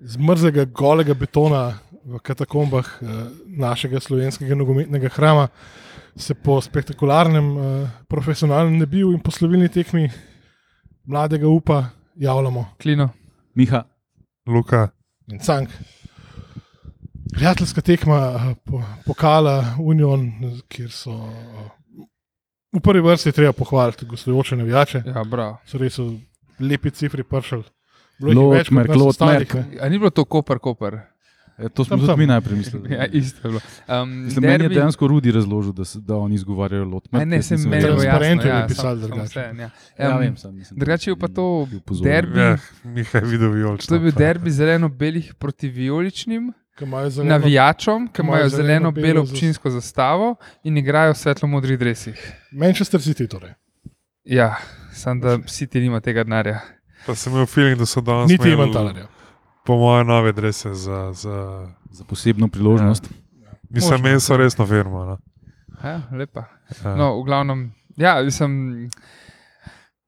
iz mrzlega, golega betona v katakombah eh, našega slovenskega nogometnega hrama, se po spektakularnem, eh, profesionalnem debiju in poslovilni tekmi mladega upa javljamo. Klino. Miha, Luka, In cank. Prijateljska tekma eh, po, pokala Union, eh, kjer so eh, v prvi vrsti je treba pohvaliti gostujoče navijače, Ja, bravo. so res v lepi cifri pršali. Lotmerk, Lotmerk. A ni bilo to kopr, kopr? E, to smo Tam, tam, tam. tudi mi najprej mislili. Ja, isto je bilo. Um, Mislim, meni je dejansko Rudi razložil, da, se- da oni izgovarjajo Lotmerk. Ne, ne, jaz sem nisem meni vedel. bilo jasno, Transparentno je ja, napisal sam- sam drugače. vseeno, ja. Ja, Em, vem, sam nisem. drugače je pa to bil pozoren. derbi. ja, Miha je videl vijolčko. To je bil derbi zeleno-belih proti vijoličnim navijačem, ki imajo imajo zeleno-belo zeleno-belo zas- občinsko zastavo in igrajo v svetlo-modrih drevesih. Manchester City torej. Ja, samo da City nima tega denarja. Pa sem imel feeling, da so danes Niti imeli, Ivan Talarja. Po moje nove drese za. za Za posebno priložnost. Ja. mislim, Možno. meni so resno firma. No. Ja, lepa. Ja. No, v glavnem, ja, sem.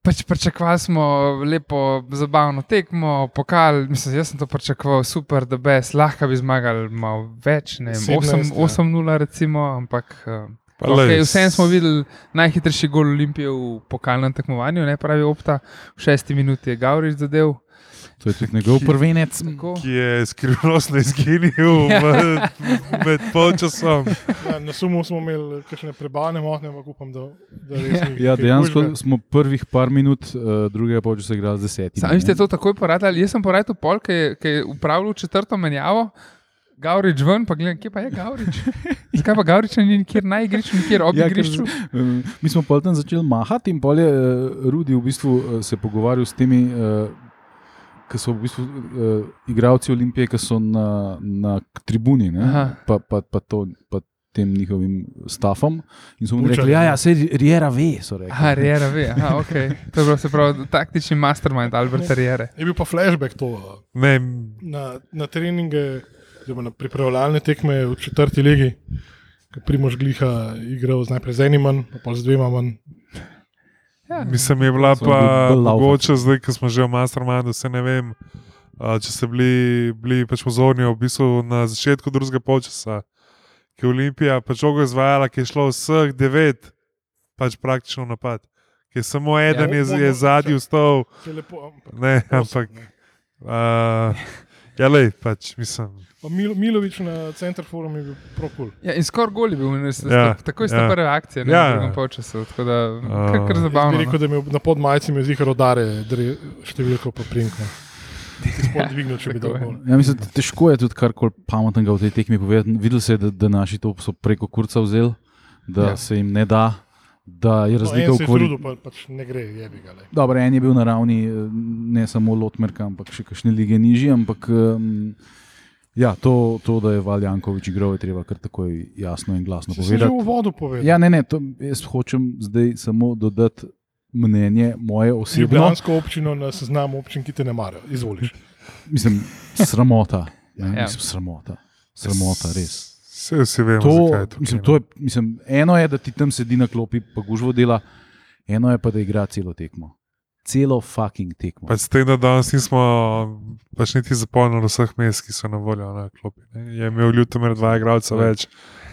Pač pričakovali smo lepo, zabavno tekmo, pokal. Mislim, jaz sem to pričakoval, super, da bi jaz lahko bi zmagali malo več, ne vem, 17, 8 ja. 8-0, recimo, ampak. eh, Pa Okay, lej, Vsem smo videli najhitrejši gol Olimpije v pokalnem tekmovanju, ne pravi Opta. V šesti minuti je Gavrič zadev. To je tudi njegov prvenec. Tako. Ki je skrivnostno izginil med, med polčasom. Ja, na sumu smo imeli kakšne prebavne motnje, ampak upam, da, da res ni. Ja, kaj dejansko hujšega. smo prvih par minut, uh, drugega pa se igra z desetimi. Sami ste ne. to takoj poradili. Jaz sem poradil pol, ki je, ki je upravljal četrto menjavo. Gavrič ven, pa gledam, kje pa je Gavrič. Zakaj pa Gavrič ni nikjer na igrišču, nikjer ob Ja, ja, ker igrišču? Eh, Mi smo pol tam začeli mahati in pol je eh, Rudi v bistvu eh, se pogovarjal s temi, eh, ki so v bistvu eh, igravci Olimpije, ki so na, na k- tribuni, ne, Aha. pa, pa, pa to. Pa Tem njihovim stafom. In so mu Bučarji, rekli, da ne. ja, ja, se Riera ve. so rekli. Aha, Riera ve, aha, ok. To je bilo se pravi taktični mastermind Alberta Riere. Je bil pa flashback to Ne, na, na treninge, oziroma na pripravljalne tekme v četrti legi, ki primož gliha igral z najprej z enim manj, pa pol z dvema manj. Ja, mislim, je bila So pa bili bolj laufati. mogoče, zdaj, ko smo že v Mastermindu, se ne vem. a, Če ste bili, bili pač pozorni v bistvu na začetku drugega polčasa, ki je Olimpija pač žogo izvajala, ki je šlo vseh devet, pač praktično v napad. Ki je samo eden Ja, je, bomo- je zadnji vstal, To je lepo, ampak- ne, ampak. Prosim, ne. Uh, ja, lej, pač mislim. Pa Mil, Milovič na center forum je bil prokul. ja, in skor gol je bil, ne, sta, Ja, ja, takoj sta ja. ja. prve akcije, ne, Ja, ja, ja. v drugem polčasu, tako da kar, kar zabavno. Bi no. rekel, da mi je na podmajci mi je zihar odare, dre- številko pa prinkne. Spod dvignil, če bi Tako dal je. gol. Ja, mislim, te- težko je tudi karkoli pametnega v tej tekmi povedati. Videli se je, da, da naši to so preko kurca vzeli, da Ja. ja. se jim ne da, da je No, razlika en v se je kvaliteti. trudil, pa pač ne gre, je bi ga le. Dobro, en je bil na ravni eh, ne samo Lotmerka, ampak še kakšne lige nižje. Ampak um, ja, to, to, da je Valjankovič igral, je treba kar takoj jasno in glasno Če si že povedati. v vodu povedal. Ja, ne, ne, to, jaz hočem zdaj samo dodati mnenje moje osebno. Ljubljansko občino na seznamu občin, ki te ne marajo. Izvoliš. Mislim, sramota. Ne, Ja. ja. mislim, sramota. Sramota, res. Vse vsi vemo, To, zakaj je to. mislim, to je, mislim, eno je, da ti tam sedi na klopi, pa gužvo dela, eno je pa, da igra celo tekmo. Celo fucking tekmo. Pač s tem, da danes nismo pač niti zapolnili vseh mest, ki so na voljo na klopi. Ne. Je imel Ljutomer dva igralca več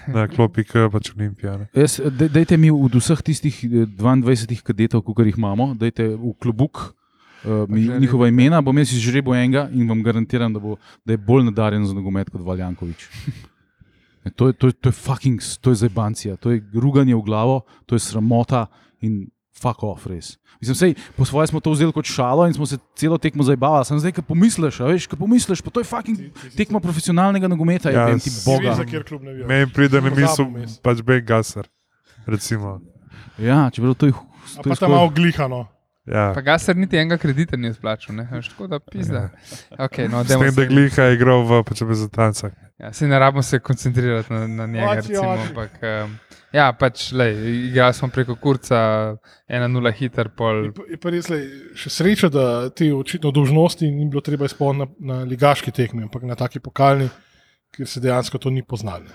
na klopi, kot pač Olimpija. Ne. Jaz, daj- dajte mi od vseh tistih eh, 22 kadetov, ki jih imamo, dajte v klobuk. Uh, mi, žreb. njihova imena, bom jaz izžrebil enega in vam garantiram, da, bo, da je bolj nadarjen za nogomet kot Valjankovič. Ne, To je, to, je, to je fucking, s- to je zebancija, to je ruganje v glavo, to je sramota in fuck off, res. Mislim, sej, po svoje smo to vzeli kot šalo in smo se celo tekmo zabavali, sem zdaj, ki pomisliš, a veš, ki pomisliš, pa to je fucking tekma profesionalnega nogometa, Ja, ja, jim ti s- Boga. boga. Za kjer klub ne vidiš. Meni pride na misel Pozabil vmes. pač Ben Gasser. Recimo. Ja, čeprav to je. hu- A to je pa tam skoraj- malo no. glihano. Ja. Pa Gasser niti enega kredita ni izplačal, ne, a veš, tako da pizda. Okay, no, S tem, da Glika je igral v pač reprezentancah. Ja, se ne rabimo se koncentrirati na, na njega, Oči, recimo, oči. ampak, um, ja, pač, lej, igrali smo preko kurca, 1-0 hiter, pol. Eh. Je pa- je pa res, lej, Še sreča, da ti očitno dolžnosti ni bilo treba izpolniti na, na ligaški tekmi, ampak na taki pokalni, kjer se dejansko to ni poznalo.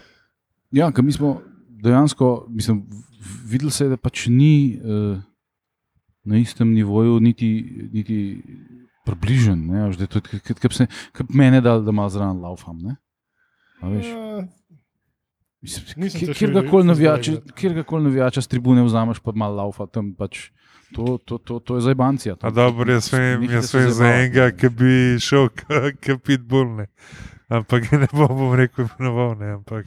Ja, ker mi smo dejansko, mislim, v- videli se je, da pač ni eh, na istem nivoju, niti, niti približen, ne, veš, da je to tudi, kot- kot bi se- kot bi mene dal, da malo zraven laufam. Ne? A veš, Ja, mislim, nisem kje- te še Kjerkoli videl, navijača, zdaj, kjerkoli navijača s tribune vzameš, pa malo laufa tam pač. To, to, to, to je zdaj bancija. A dobro, jaz vem, jaz vem za enega, ki bi šel kot pitbull, ne. ampak ga ne bom, bom rekel imenoval. Ne. Ampak,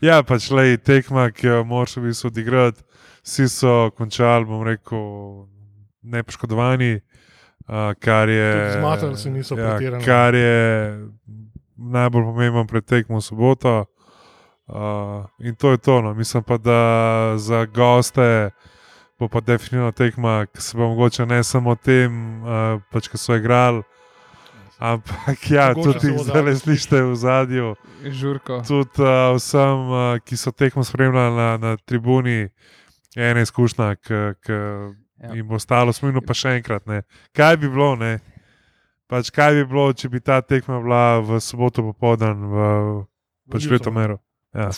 ja, pač le tekma, ki jo moraš v bistvu odigrati. Vsi so končali, bom rekel, nepoškodovani, a, kar je. Ja, Tudi zmatrali se niso pretirano. Kar je najbolj pomemben pred tekmo v soboto. Uh, in to je to. No. Mislim pa, da za goste bo pa definitivno tekma, ki se bo mogoče ne samo o tem, uh, pač ki so igrali, ampak ja, Mogoče tudi jih so v zdaj ozadju. slišite v zadju. žurko. Tudi uh, vsem, uh, ki so tekmo spremljali na, na tribuni, je ena izkušnja, ki Ja. jim bo ostalo smilno, pa še enkrat. Ne. Kaj bi bilo, ne? Pač kaj bi bilo, če bi ta tekma bila v soboto popoldan v pač Ljubljani. Ljutomeru? Ja.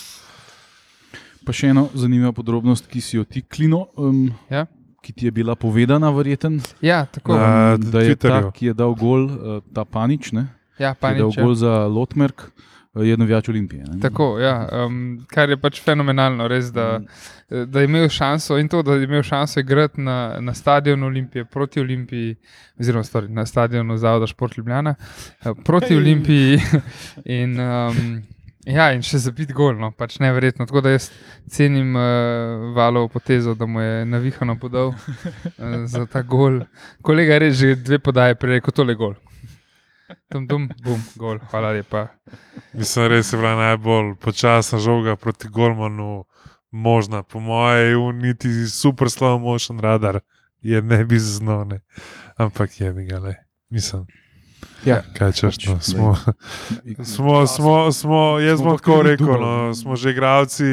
Pa še eno zanimivo podrobnost, ki si jo ti klino, um, Ja. ki ti je bila povedana, verjeten, Ja, tako. Ja. Na em, da je ta, Twitterju. ki je dal gol, eh, ta panič, ne, Ja, ki je dal panič. ja. gol za Lotmerk, eh, je navijač Olimpije. Ne. Tako, ja, um, kar je pač fenomenalno, res, da, da je imel šanso in to, da je imel šanso igrati na, na stadionu Olimpije, proti Olimpiji, oziroma stvari, na stadionu Zavoda Šport Ljubljana, eh, proti Ej. Olimpiji. In, um, ja, in še zabit gol, no, pač neverjetno. Tako da jaz cenim uh, valovo potezo, da mu je navihano podal uh, za ta gol. Kolega je res že dve podaje prej rekel, tole je gol. Tam dum, bum, gol, hvala lepa. Mislim, res je bila najbolj počasna žoga proti Gormanu, možna, po mojem, niti super slow motion radar je ne bi znal, ne. ampak je mi ga le. Mislim, Ja. kaj češ, no, Pač, smo, smo, smo, smo, jaz Smo bom pa tako kar rekel, dobro. no, smo že igravci,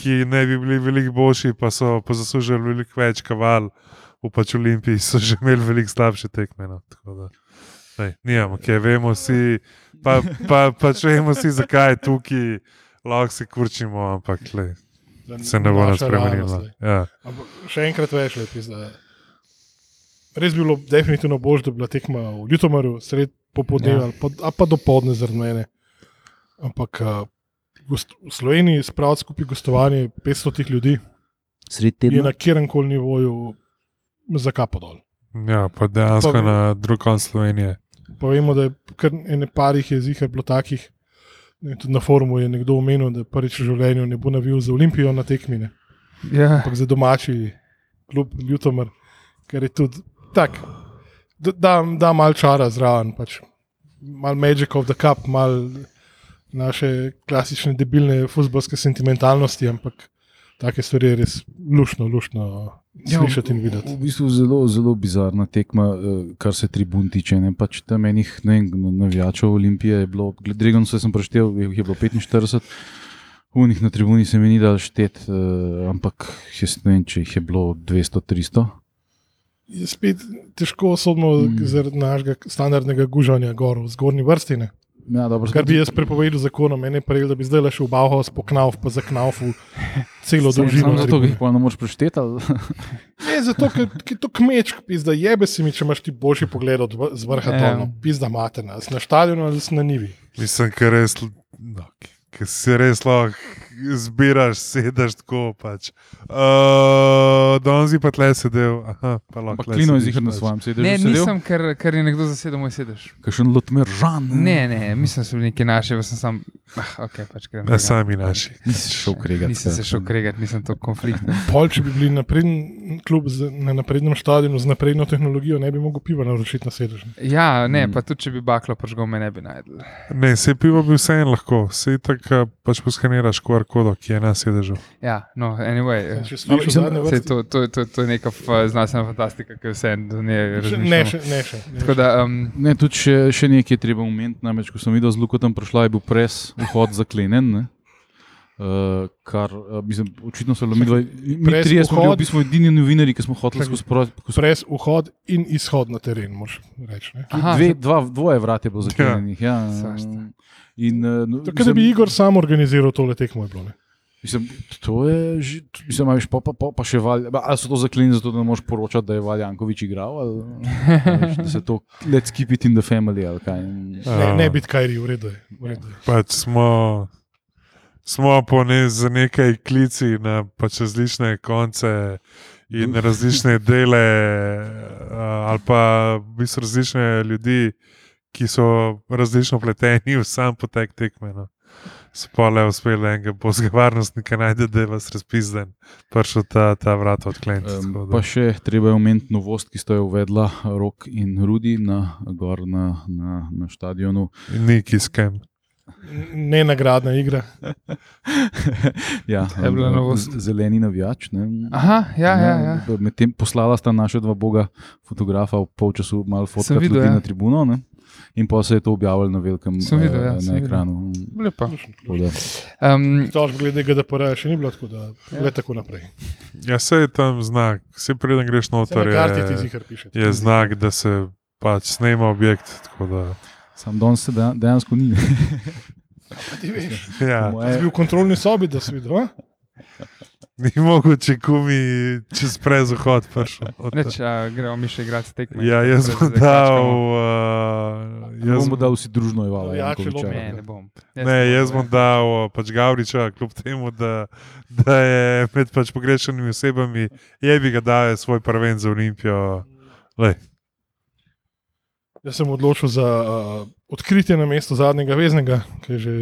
ki ne bi bili veliko boljši, pa so pa zaslužili veliko več kaval, v pač Olimpiji so že imeli veliko slabše tekme. No, tako da, ne, nijamo, ki vemo vsi, pa, pa, pač vemo vsi, zakaj je tukaj, lahko se kurčimo, ampak lej, da se ne bo naša nas realnost, spremenilo. lej. Ja. Ampak še enkrat več lepi. Res bi bilo definitivno bolj, da bi bila tekma v Ljutomeru, sred Ja. popoldneva, ja. a pa do podne zaradi mene. Ampak a, gost, v Sloveniji spraviti skupaj gostovanje 500 ljudi Sred je na kjerem koli nivoju za kapo dol. Ja, pa dejansko Pa- na drug konc Slovenije. Pa vemo, da je kar ene parih je zihar bilo takih. ne vem, Tudi na forumu je nekdo omenil, da prvič v življenju ne bo navil za Olimpijo na tekmine, Ja. ampak za domači klub Ljutomer, ker je tudi tak. Da, da, da malo čara zraven, pač. malo Magic of the Cup, malo naše klasične debilne futbolske sentimentalnosti, ampak take stvari je res lušno, lušno slišati in videti. Ja, V bistvu zelo, zelo bizarna tekma, eh, kar se tribun tiče. Ne? Pač tam enih ne vem, navijačev Olimpije je bilo, Dregon se sem preštel, jih je bilo 45. Unih na tribuni se mi ni dal štet, eh, ampak jaz ne vem, če jih je bilo 200, 300. je spet težko sodimo mm. zaradi našega standardnega gužanja gor v zgornji vrsti. Ne? Ja, dobro, Kar bi jaz prepovedal zakonom, meni je rekel, da bi zdaj le šel v Bauhaus po knauf, pa za knauf celo dolžino. Samo zato, ker jih pa ne moreš eh, prešteti. ali- Ne, zato, ker ker je to kmečk, pizda, jebe si mi, če imaš ti boljši pogled od v- z vrha Ja. yeah. dolno, pizda materna, si na stadionu ali si na nivi. Mislim, ker res, no, ker si res lahko zbiraš, sedeš tako pač. Uh, Danes je pa tle sedel, aha, Pa pa lahko. tle klino je sediš, zihar na pač. svojem sedežu. Ne, sedel? nisem, ker, ker je nekdo zasedel moj sedež. Kakšen lotmer žan. Mm. Ne, ne, mislim, da so bili neki naši, pa sem sam. Ah, okay, pač grem, Ne, sami naši. Nisi šel ja. kregati. Nisem se šel kregati, nisem to konflikt. Pol, če bi bili napreden, klub z, na naprednem stadionu z napredno tehnologijo, ne bi mogel piva naročiti na sedež. Ja, ne, Mm. pa tudi če bi baklo požgal, me ne bi najdel. Ne, se pivo bi vseeno lahko, se tako pač poskeniraš QR kodo, ki je na sedežu. Ja, no, anyway. Če slišiš, Ampak mislim, da Sej, to, to, to, to je neka f- znanstvena fantastika, ki vse do nje ne razumeš. še. Ne še. Tako da, um, Ne, tudi še, še nekaj je treba umeti. Namreč, ko sem videl z Luko tam prišla, je bil pres, vhod zaklenjen. Uh, kar, uh, mislim, očitno so bili mi dva, mi Pres, trije, smo bili v vhod. bistvu edini novinari, ki smo hoteli skozi pro- skozi- Pres vhod in izhod na teren, moraš reči. ne. Aha, dve, dva, dvoje vrat je bilo zaklenjenih. Ja. Svašta. In, uh, no, Tako da bi Igor sam organiziral tole tekmo. Je bilo, ne. Mislim, to je že, mislim, a veš, pa, pa, pa, pa še valj. Ali so to zaklenili, zato da ne moš poročati, da je Valjankovič igral, ali a veš, da se to let's keep it in the family, ali kaj. Ne, ne biti kajri, v redu je. v redu je. Pač smo, smo po ne, z nekaj klici na pač različne konce in različne dele, eh, ali pa v bistvu različne ljudi, ki so različno pleteni v sam potek tekme. No. Spole je uspelo enega božjega varnostnika, najde, da je vas razpizden, prišel ta, ta vrat odkleniti. tako Um, da- pa še treba je omeniti novost, ki sta jo uvedla Rok in Rudi na, gor na, na, na stadionu. Neki skem. Ne nagradna igra. ja, To je bila um, novost. z- Zeleni navijač. Ne? Aha, ja, ja. ja. Mm. Medtem poslala sta naša dva boga, fotografa, v polčasu malo Sem fotkati videl, ljudi ja. na tribuno. Ne? In pa se je to objavilo na velikem Sem videl, eh, ja, sem na videl. ekranu. Lepo. Tako da- Um, Tož glede GDPR še ni bilo tako, da le tako naprej. Ja, se je tam znak, se preden greš Vse Torej, noter, na karti eh, ti je, zihar piše. je znak, da se pač snema objekt. tako Da, Sam danes se dejan- dejansko ni. A Ti veš, ja, si bil v kontrolni sobi, da si videl. a? ni mogoče kumi čez prezohod prišel. od- Reč, a, gremo mi še igrati tekme. Ja, jaz Zdaj bom dal. zakačkamo. Uh, jaz, Jaz bom dal vsi družno Ivala. Navijači Jankovića. Lomé. Ne, ne bom. ne, jaz bom dal eh, pač Gavriča, kljub temu, da, da je med pač pogrešanimi osebami, je bi ga dal svoj prven za Olimpijo. Lej, Jaz sem odločil za uh, odkritje na mesto zadnjega veznega, ki je že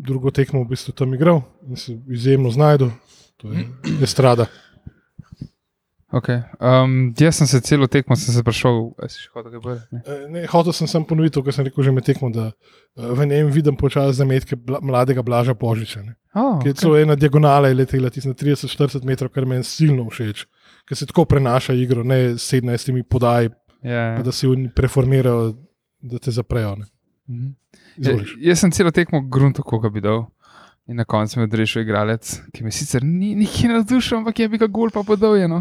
drugo tekmo v bistvu tam igral in se izjemno znašel. To je estrada. Okay. Um, jaz sem se celo tekmo sem se prišel, a si še hotel kaj povedati. Ne? Eh, Ne, hotel sem samo ponoviti to, kar sem rekel že med tekmo, da eh, v enem vidim počasi zametke bla, mladega Blaža Božiča. Ne? Oh, Ki je celo ena diagonala je letela, tista 30-40 metrov, kar meni silno všeč, ker se tako prenaša igro, ne s 17 podaj, ja, pa da si oni preformirajo, da te zaprejo. ne. Mhm. Ja, Izvoliš. jaz sem celo tekmo grunto, kako bi dal. In na koncu me je odrešil igralec, ki me sicer ni nikjer navdušil, ampak je bi ga gol pa podal. Je, no.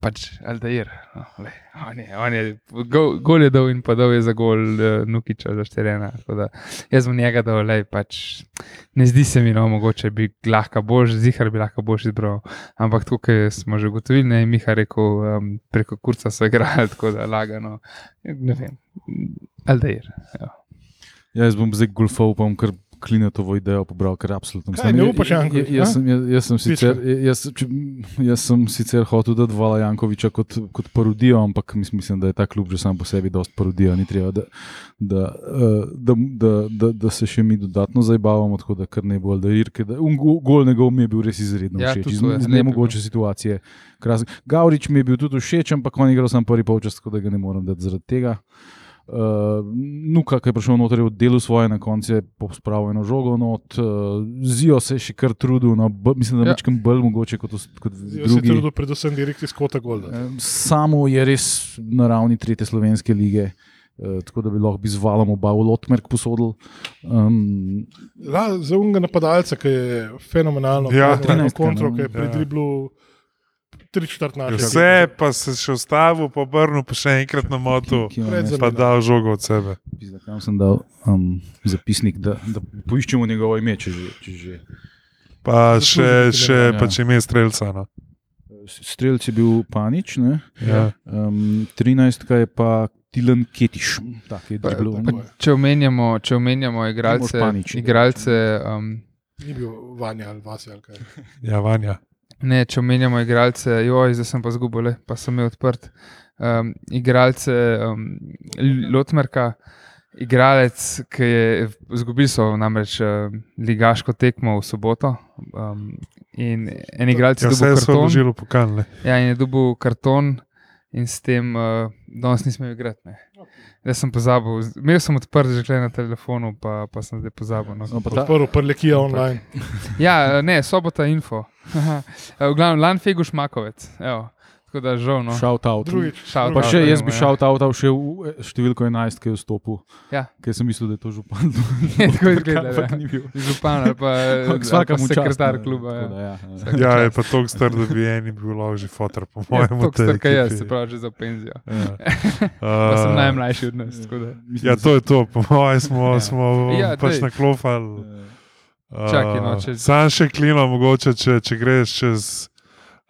Pač Aldair. No, glej, on je, on je, gol, gol je dal in podal je za gol uh, Nukiča za 4-1. Jaz bom njega dal, le pač ne zdi se mi, no, mogoče bi lahko boš, zihar bi lahko boš izbral. Ampak tukaj smo že ugotovili, ne, je Miha rekel, um, preko kurca so igrali, tako da lagano. Ne vem, Aldair. Ja. Ja, jaz bom zdaj golfal, pa bom kar klinatovo idejo pobral, ker absolutno Kaj, Mislim, ne ja- upaš, ja- Janković, ja- Jaz, sem- jaz, jaz, sem Pička. sicer- jaz, če- jaz sem sicer hotel dati Vala Jankoviča kot, kot parodijo, ampak mis- mislim, da je ta klub že sam po sebi dost parodija. Ni treba, da, da, eh, da, da, da, da se še mi dodatno zabavamo, tako da kar ne bo Aldair. ker da- un go- Gol njegov mi je bil res izredno Ja, všeč, tudi iz, to je iz lep je nemogoče bil. situacije. Krasen. Gavrič mi je bil tudi všeč, ampak on je igral sam prvi polčas, tako da ga ne morem dati zaradi tega. Uh, Nuka, ki je prišel noter, je oddelil svoje, na koncu je pospravil eno žogo. Not, uh, Zijo se je še kar trudil, no, b, mislim, da Ja. je večkrat bolj mogoče kot, os- kot Jaz sem drugi. trudil predvsem direkt iz kota Golda. Eh, Samo je res na ravni tretje slovenske lige. eh, Tako da bi lahko bi z valom oba v Lotmerk posodil. Um, La, za unga napadalca, ki je fenomenalno, Ja, na 13, kontro, ne. ki je predriblu tri četrt našega. vse pa se Ja, še ustavil, pa obrnil, pa še enkrat na motu, Pred pa dal žogo od sebe. Pizda, kam sem dal um, zapisnik, da, da poiščemo njegovo ime, če že. Če že. Eh, Pa Zaslužil še, si še telefon, ja. pač ime streljca. No. Strelc je bil panič, ne? Ja. um, 13 je pa Tilan Ketiš, tak je Pa- driblo. pa Če omenjamo, če omenjamo igralce, Panič. igralce um, Ni bil vanja ali vas ali kaj. ja, Vanja. ne, če omenjamo igralce, joj, zdaj sem pa zgubil, le, pa sem jih odprt. Um, igralce um, Lotmerka, igralec, ki je izgubil so namreč uh, ligaško tekmo v soboto. Um, in en igralec Ja, je vse dobil so karton. vložili v pokalne. Ja, in je dobil karton in s tem uh, danes nismo igrali. Jaz sem pozabil, z- imel sem odprt že tukaj na telefonu, pa, pa sem zdaj pozabil. No. No, pa ta, Podprl prelekija online. Ja, eh, ne, sobota info. Haha. Eh, V glavnem, Lan Fegu Šmakovec. Evo. Tako da žal. No. Shout out. Drugič. Shout Pa out, še jaz gremo, bi ja. šel ta avto, še v eh, številko 11, ki je vstopil, Ja. ker sem mislil, da je to župan. Je tako izgleda, Ampak ja. ni bil. Župan ali pa, eh, ali Ampak pa Vsakemu čast, sekretar ne, kluba. tako da Ja. Ja, ja. Ja, je pa tako star, da bi eni bil lahko že fotor, Ja, po mojem. Ja. To, kar jaz, se pravi, že za penzijo. Pa sem najmlajši od nas. tako da. Mislim, Eh, Ja, da to je to, po mojem smo, Ja. smo Ja, pač dej. naklopali. se- Čakaj, no, če- Sam še klino, mogoče, če, če greš čez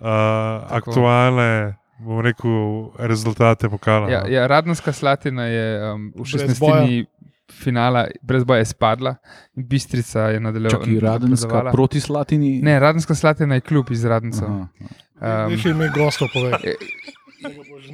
uh, aktualne, bom rekel, rezultate pokala. Ja, no. ja, Radnska slatina je um, v Brez 16. finala, brez boja, je spadla, Bistrica je nadaljevala. Čakaj, Radenska nadaljevala. proti Slatini. Ne, Radnska slatina je kljub iz Radnca. Aha. Um, Nekaj ime gostov pove. e,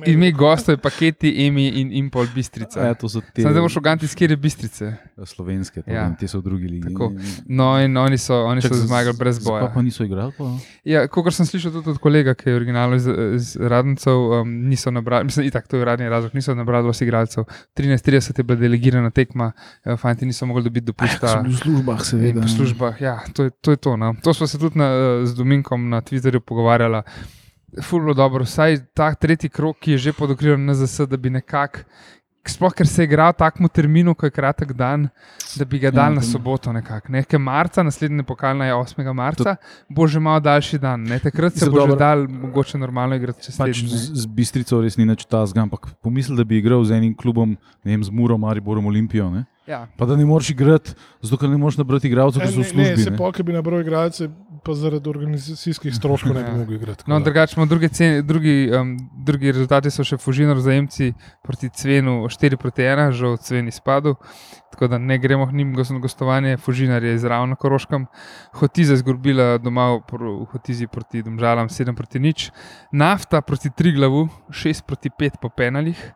ime gostov je paketi, emi in impol Bistrica. Ja, to so te Sam zdaj boš v Ganti, skiri Bistrice. slovenske, to, Ja. ja. te so v drugi ligi. Tako. No, in oni so, oni so Čakaj, zmagali brez zakaj boja. Pa niso igrali. Pa? Ja, Kot sem slišal tudi od kolega, ki je originalno iz, iz Radncev, um, niso nabrali, mislim, itak, to je uradni razlog, niso nabrali vsi igralcev. 13:30 je bila delegirana tekma, eh, fanti niso mogli dobiti dopusta. Ja, v službah, In Po službah, ja, to je to. Je to, no. to smo se tudi na, eh, z Dominkom na Twitterju pogovarjali. Fulno dobro, vsaj ta tretji krok, ki je že pod okriljem NZS, da bi nekako, sploh ker se igra v takem terminu, ko je kratek dan, da bi ga Ja, dal na soboto nekako. Nekaj marca, naslednji pokalna je 8. marca, bo že malo daljši dan. Ne? Takrat se Mislim, bo že dobro. dal mogoče normalno igrati čez Pač teden. z, ne. z bistrico res ni več ta zgam, ampak pomisli, da bi igral z enim klubom, ne vem, z Murom, Mariborom, Olimpijo. Ne? Ja. Pa da ne moreš igrati, zato ker ne moreš nabrati igralcev, ki so v Ne, službi. se ne. pol, ki bi nabral igralce, pa zaradi organizacijskih stroškov ne bi Ja. mogel igrati. tako No, da. drugače imamo druge cene, drugi, um, drugi rezultati so še Fužinor zajemci proti Cvenu 4 proti 1, žal Cven je spadal, tako da ne gremo k njim gos- na gostovanje. Fužinar je izravno Koroškam, Hotiza je zgubila doma v Hotizi proti Domžalam 7 proti nič, Nafta proti Triglavu 6 proti 5 po penalih,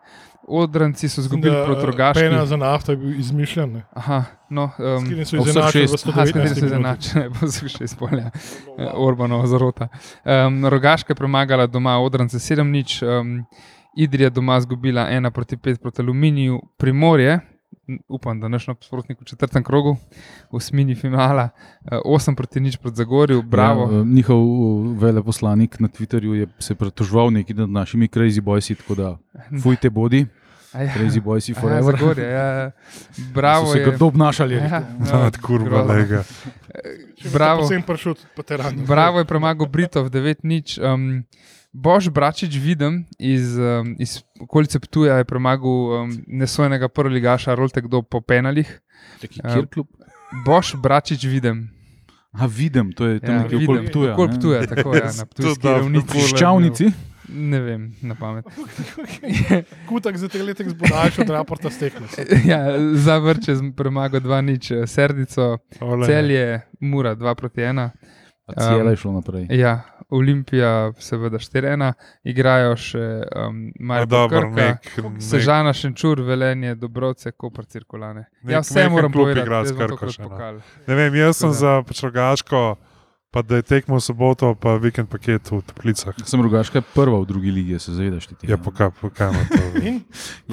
Odranci so Mislim, zgubili da, proti eh, Rogaški. Pena za nafto je bil izmišljen. ne. Aha, no, S um, katerim so Ob vseh izenačili v šest. Aha, s katerim 119 se minuti. zanačajo, pa so še iz polja. Eh, Orbanova zarota. Um, Rogaška je premagala doma Odrance 7-0, um, Idrija doma izgubila 1 proti 5 proti Aluminiju, Primorje. n- Upam, da naš nasprotnik v četrtem krogu, v osmini finala, eh, 8 proti nič proti Zagorju, bravo. Ja, eh, njihov eh, veleposlanik na Twitterju je se pritoževal nekaj nad našimi crazy boysi, tako da fujte bodi, A ja, crazy boysi aha, forever. Zagorje, ja, ja. bravo. so se je. grdo obnašali. Ja, Ja, no, kurva, grozno. lega. Če Bravo. Vsem pršut, pa te rado. Bravo je premagal Britov 9-0. Um, Bož Bračič vidim iz, um, iz okolice Ptuja je premagal um, nesojenega prvoligaša Roltek do po penalih. Čaki, Ja. kjer klub? Bož Bračič vidim. A vidim, to je tam Ja, ja, nekje vidim. okoli Ptuja. Okoli ne. Ptuja, tako ja, na Ptujski da, ravnici. V Ščavnici. Ne vem, na pamet. Kutak za te letek zbudaš od raporta stekne. se. Ja, Zavrče je premagal 2-0, Serdico, no, Celje, Mura 2-1. A Cijela je šlo naprej. Ja, Olimpija, seveda 4-1, igrajo še um, Marijo Dobro, Krka. nek, nek, Sežana, Šenčur, Velenje, Dobrovce, Koper, Cirkulane. Nek- ja, vse nekaj moram klub povedati, igra jaz bom s Krko tokrat še, no. pokal. ne vem, jaz sem Tako da. za pačrogaško, pa da je tekmo v soboto, pa vikend paket v toplicah. Sem drugačka prva v drugi ligi, se zavedaš ti. Ja, pokaj, pokaj ima to. In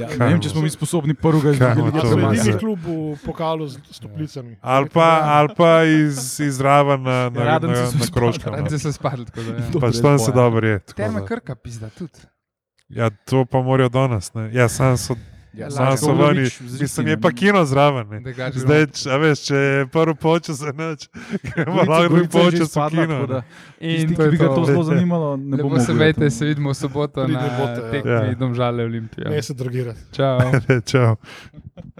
Ja, Kaj ne vem, če bo? smo mi sposobni prvega iz druge Kaj bo lige. to? premagati. sledili klub v pokalu z stopnicami. Ali pa, ali pa iz, iz Raven na, na, na, Radenci na, so na kroškem. Rad se spadli, tako da. Ja. To- Pač brez tam se boja. dobro je. tako Terma da. Krka, pizda tudi. Ja, to pa morajo do nas. Ne. Ja, sam so, Ja, sam Lažje. so Pavlović vani, z mislim, je Ristinom. pa kino zraven. Ne. Da ga že Zdaj, če, a veš, če je prvi počas za noč, gremo Gorica- lahko drugi Gorica je že počas v izpadla, kino. tako da ne. Tisti, ki bi ga to zelo zanimalo, ne Lepo bomo se vejte, se vidimo v soboto Pridi na bote, ja. tekmi Ja. Domžale Olimpije. Ne se drogirati. Čau. Čau.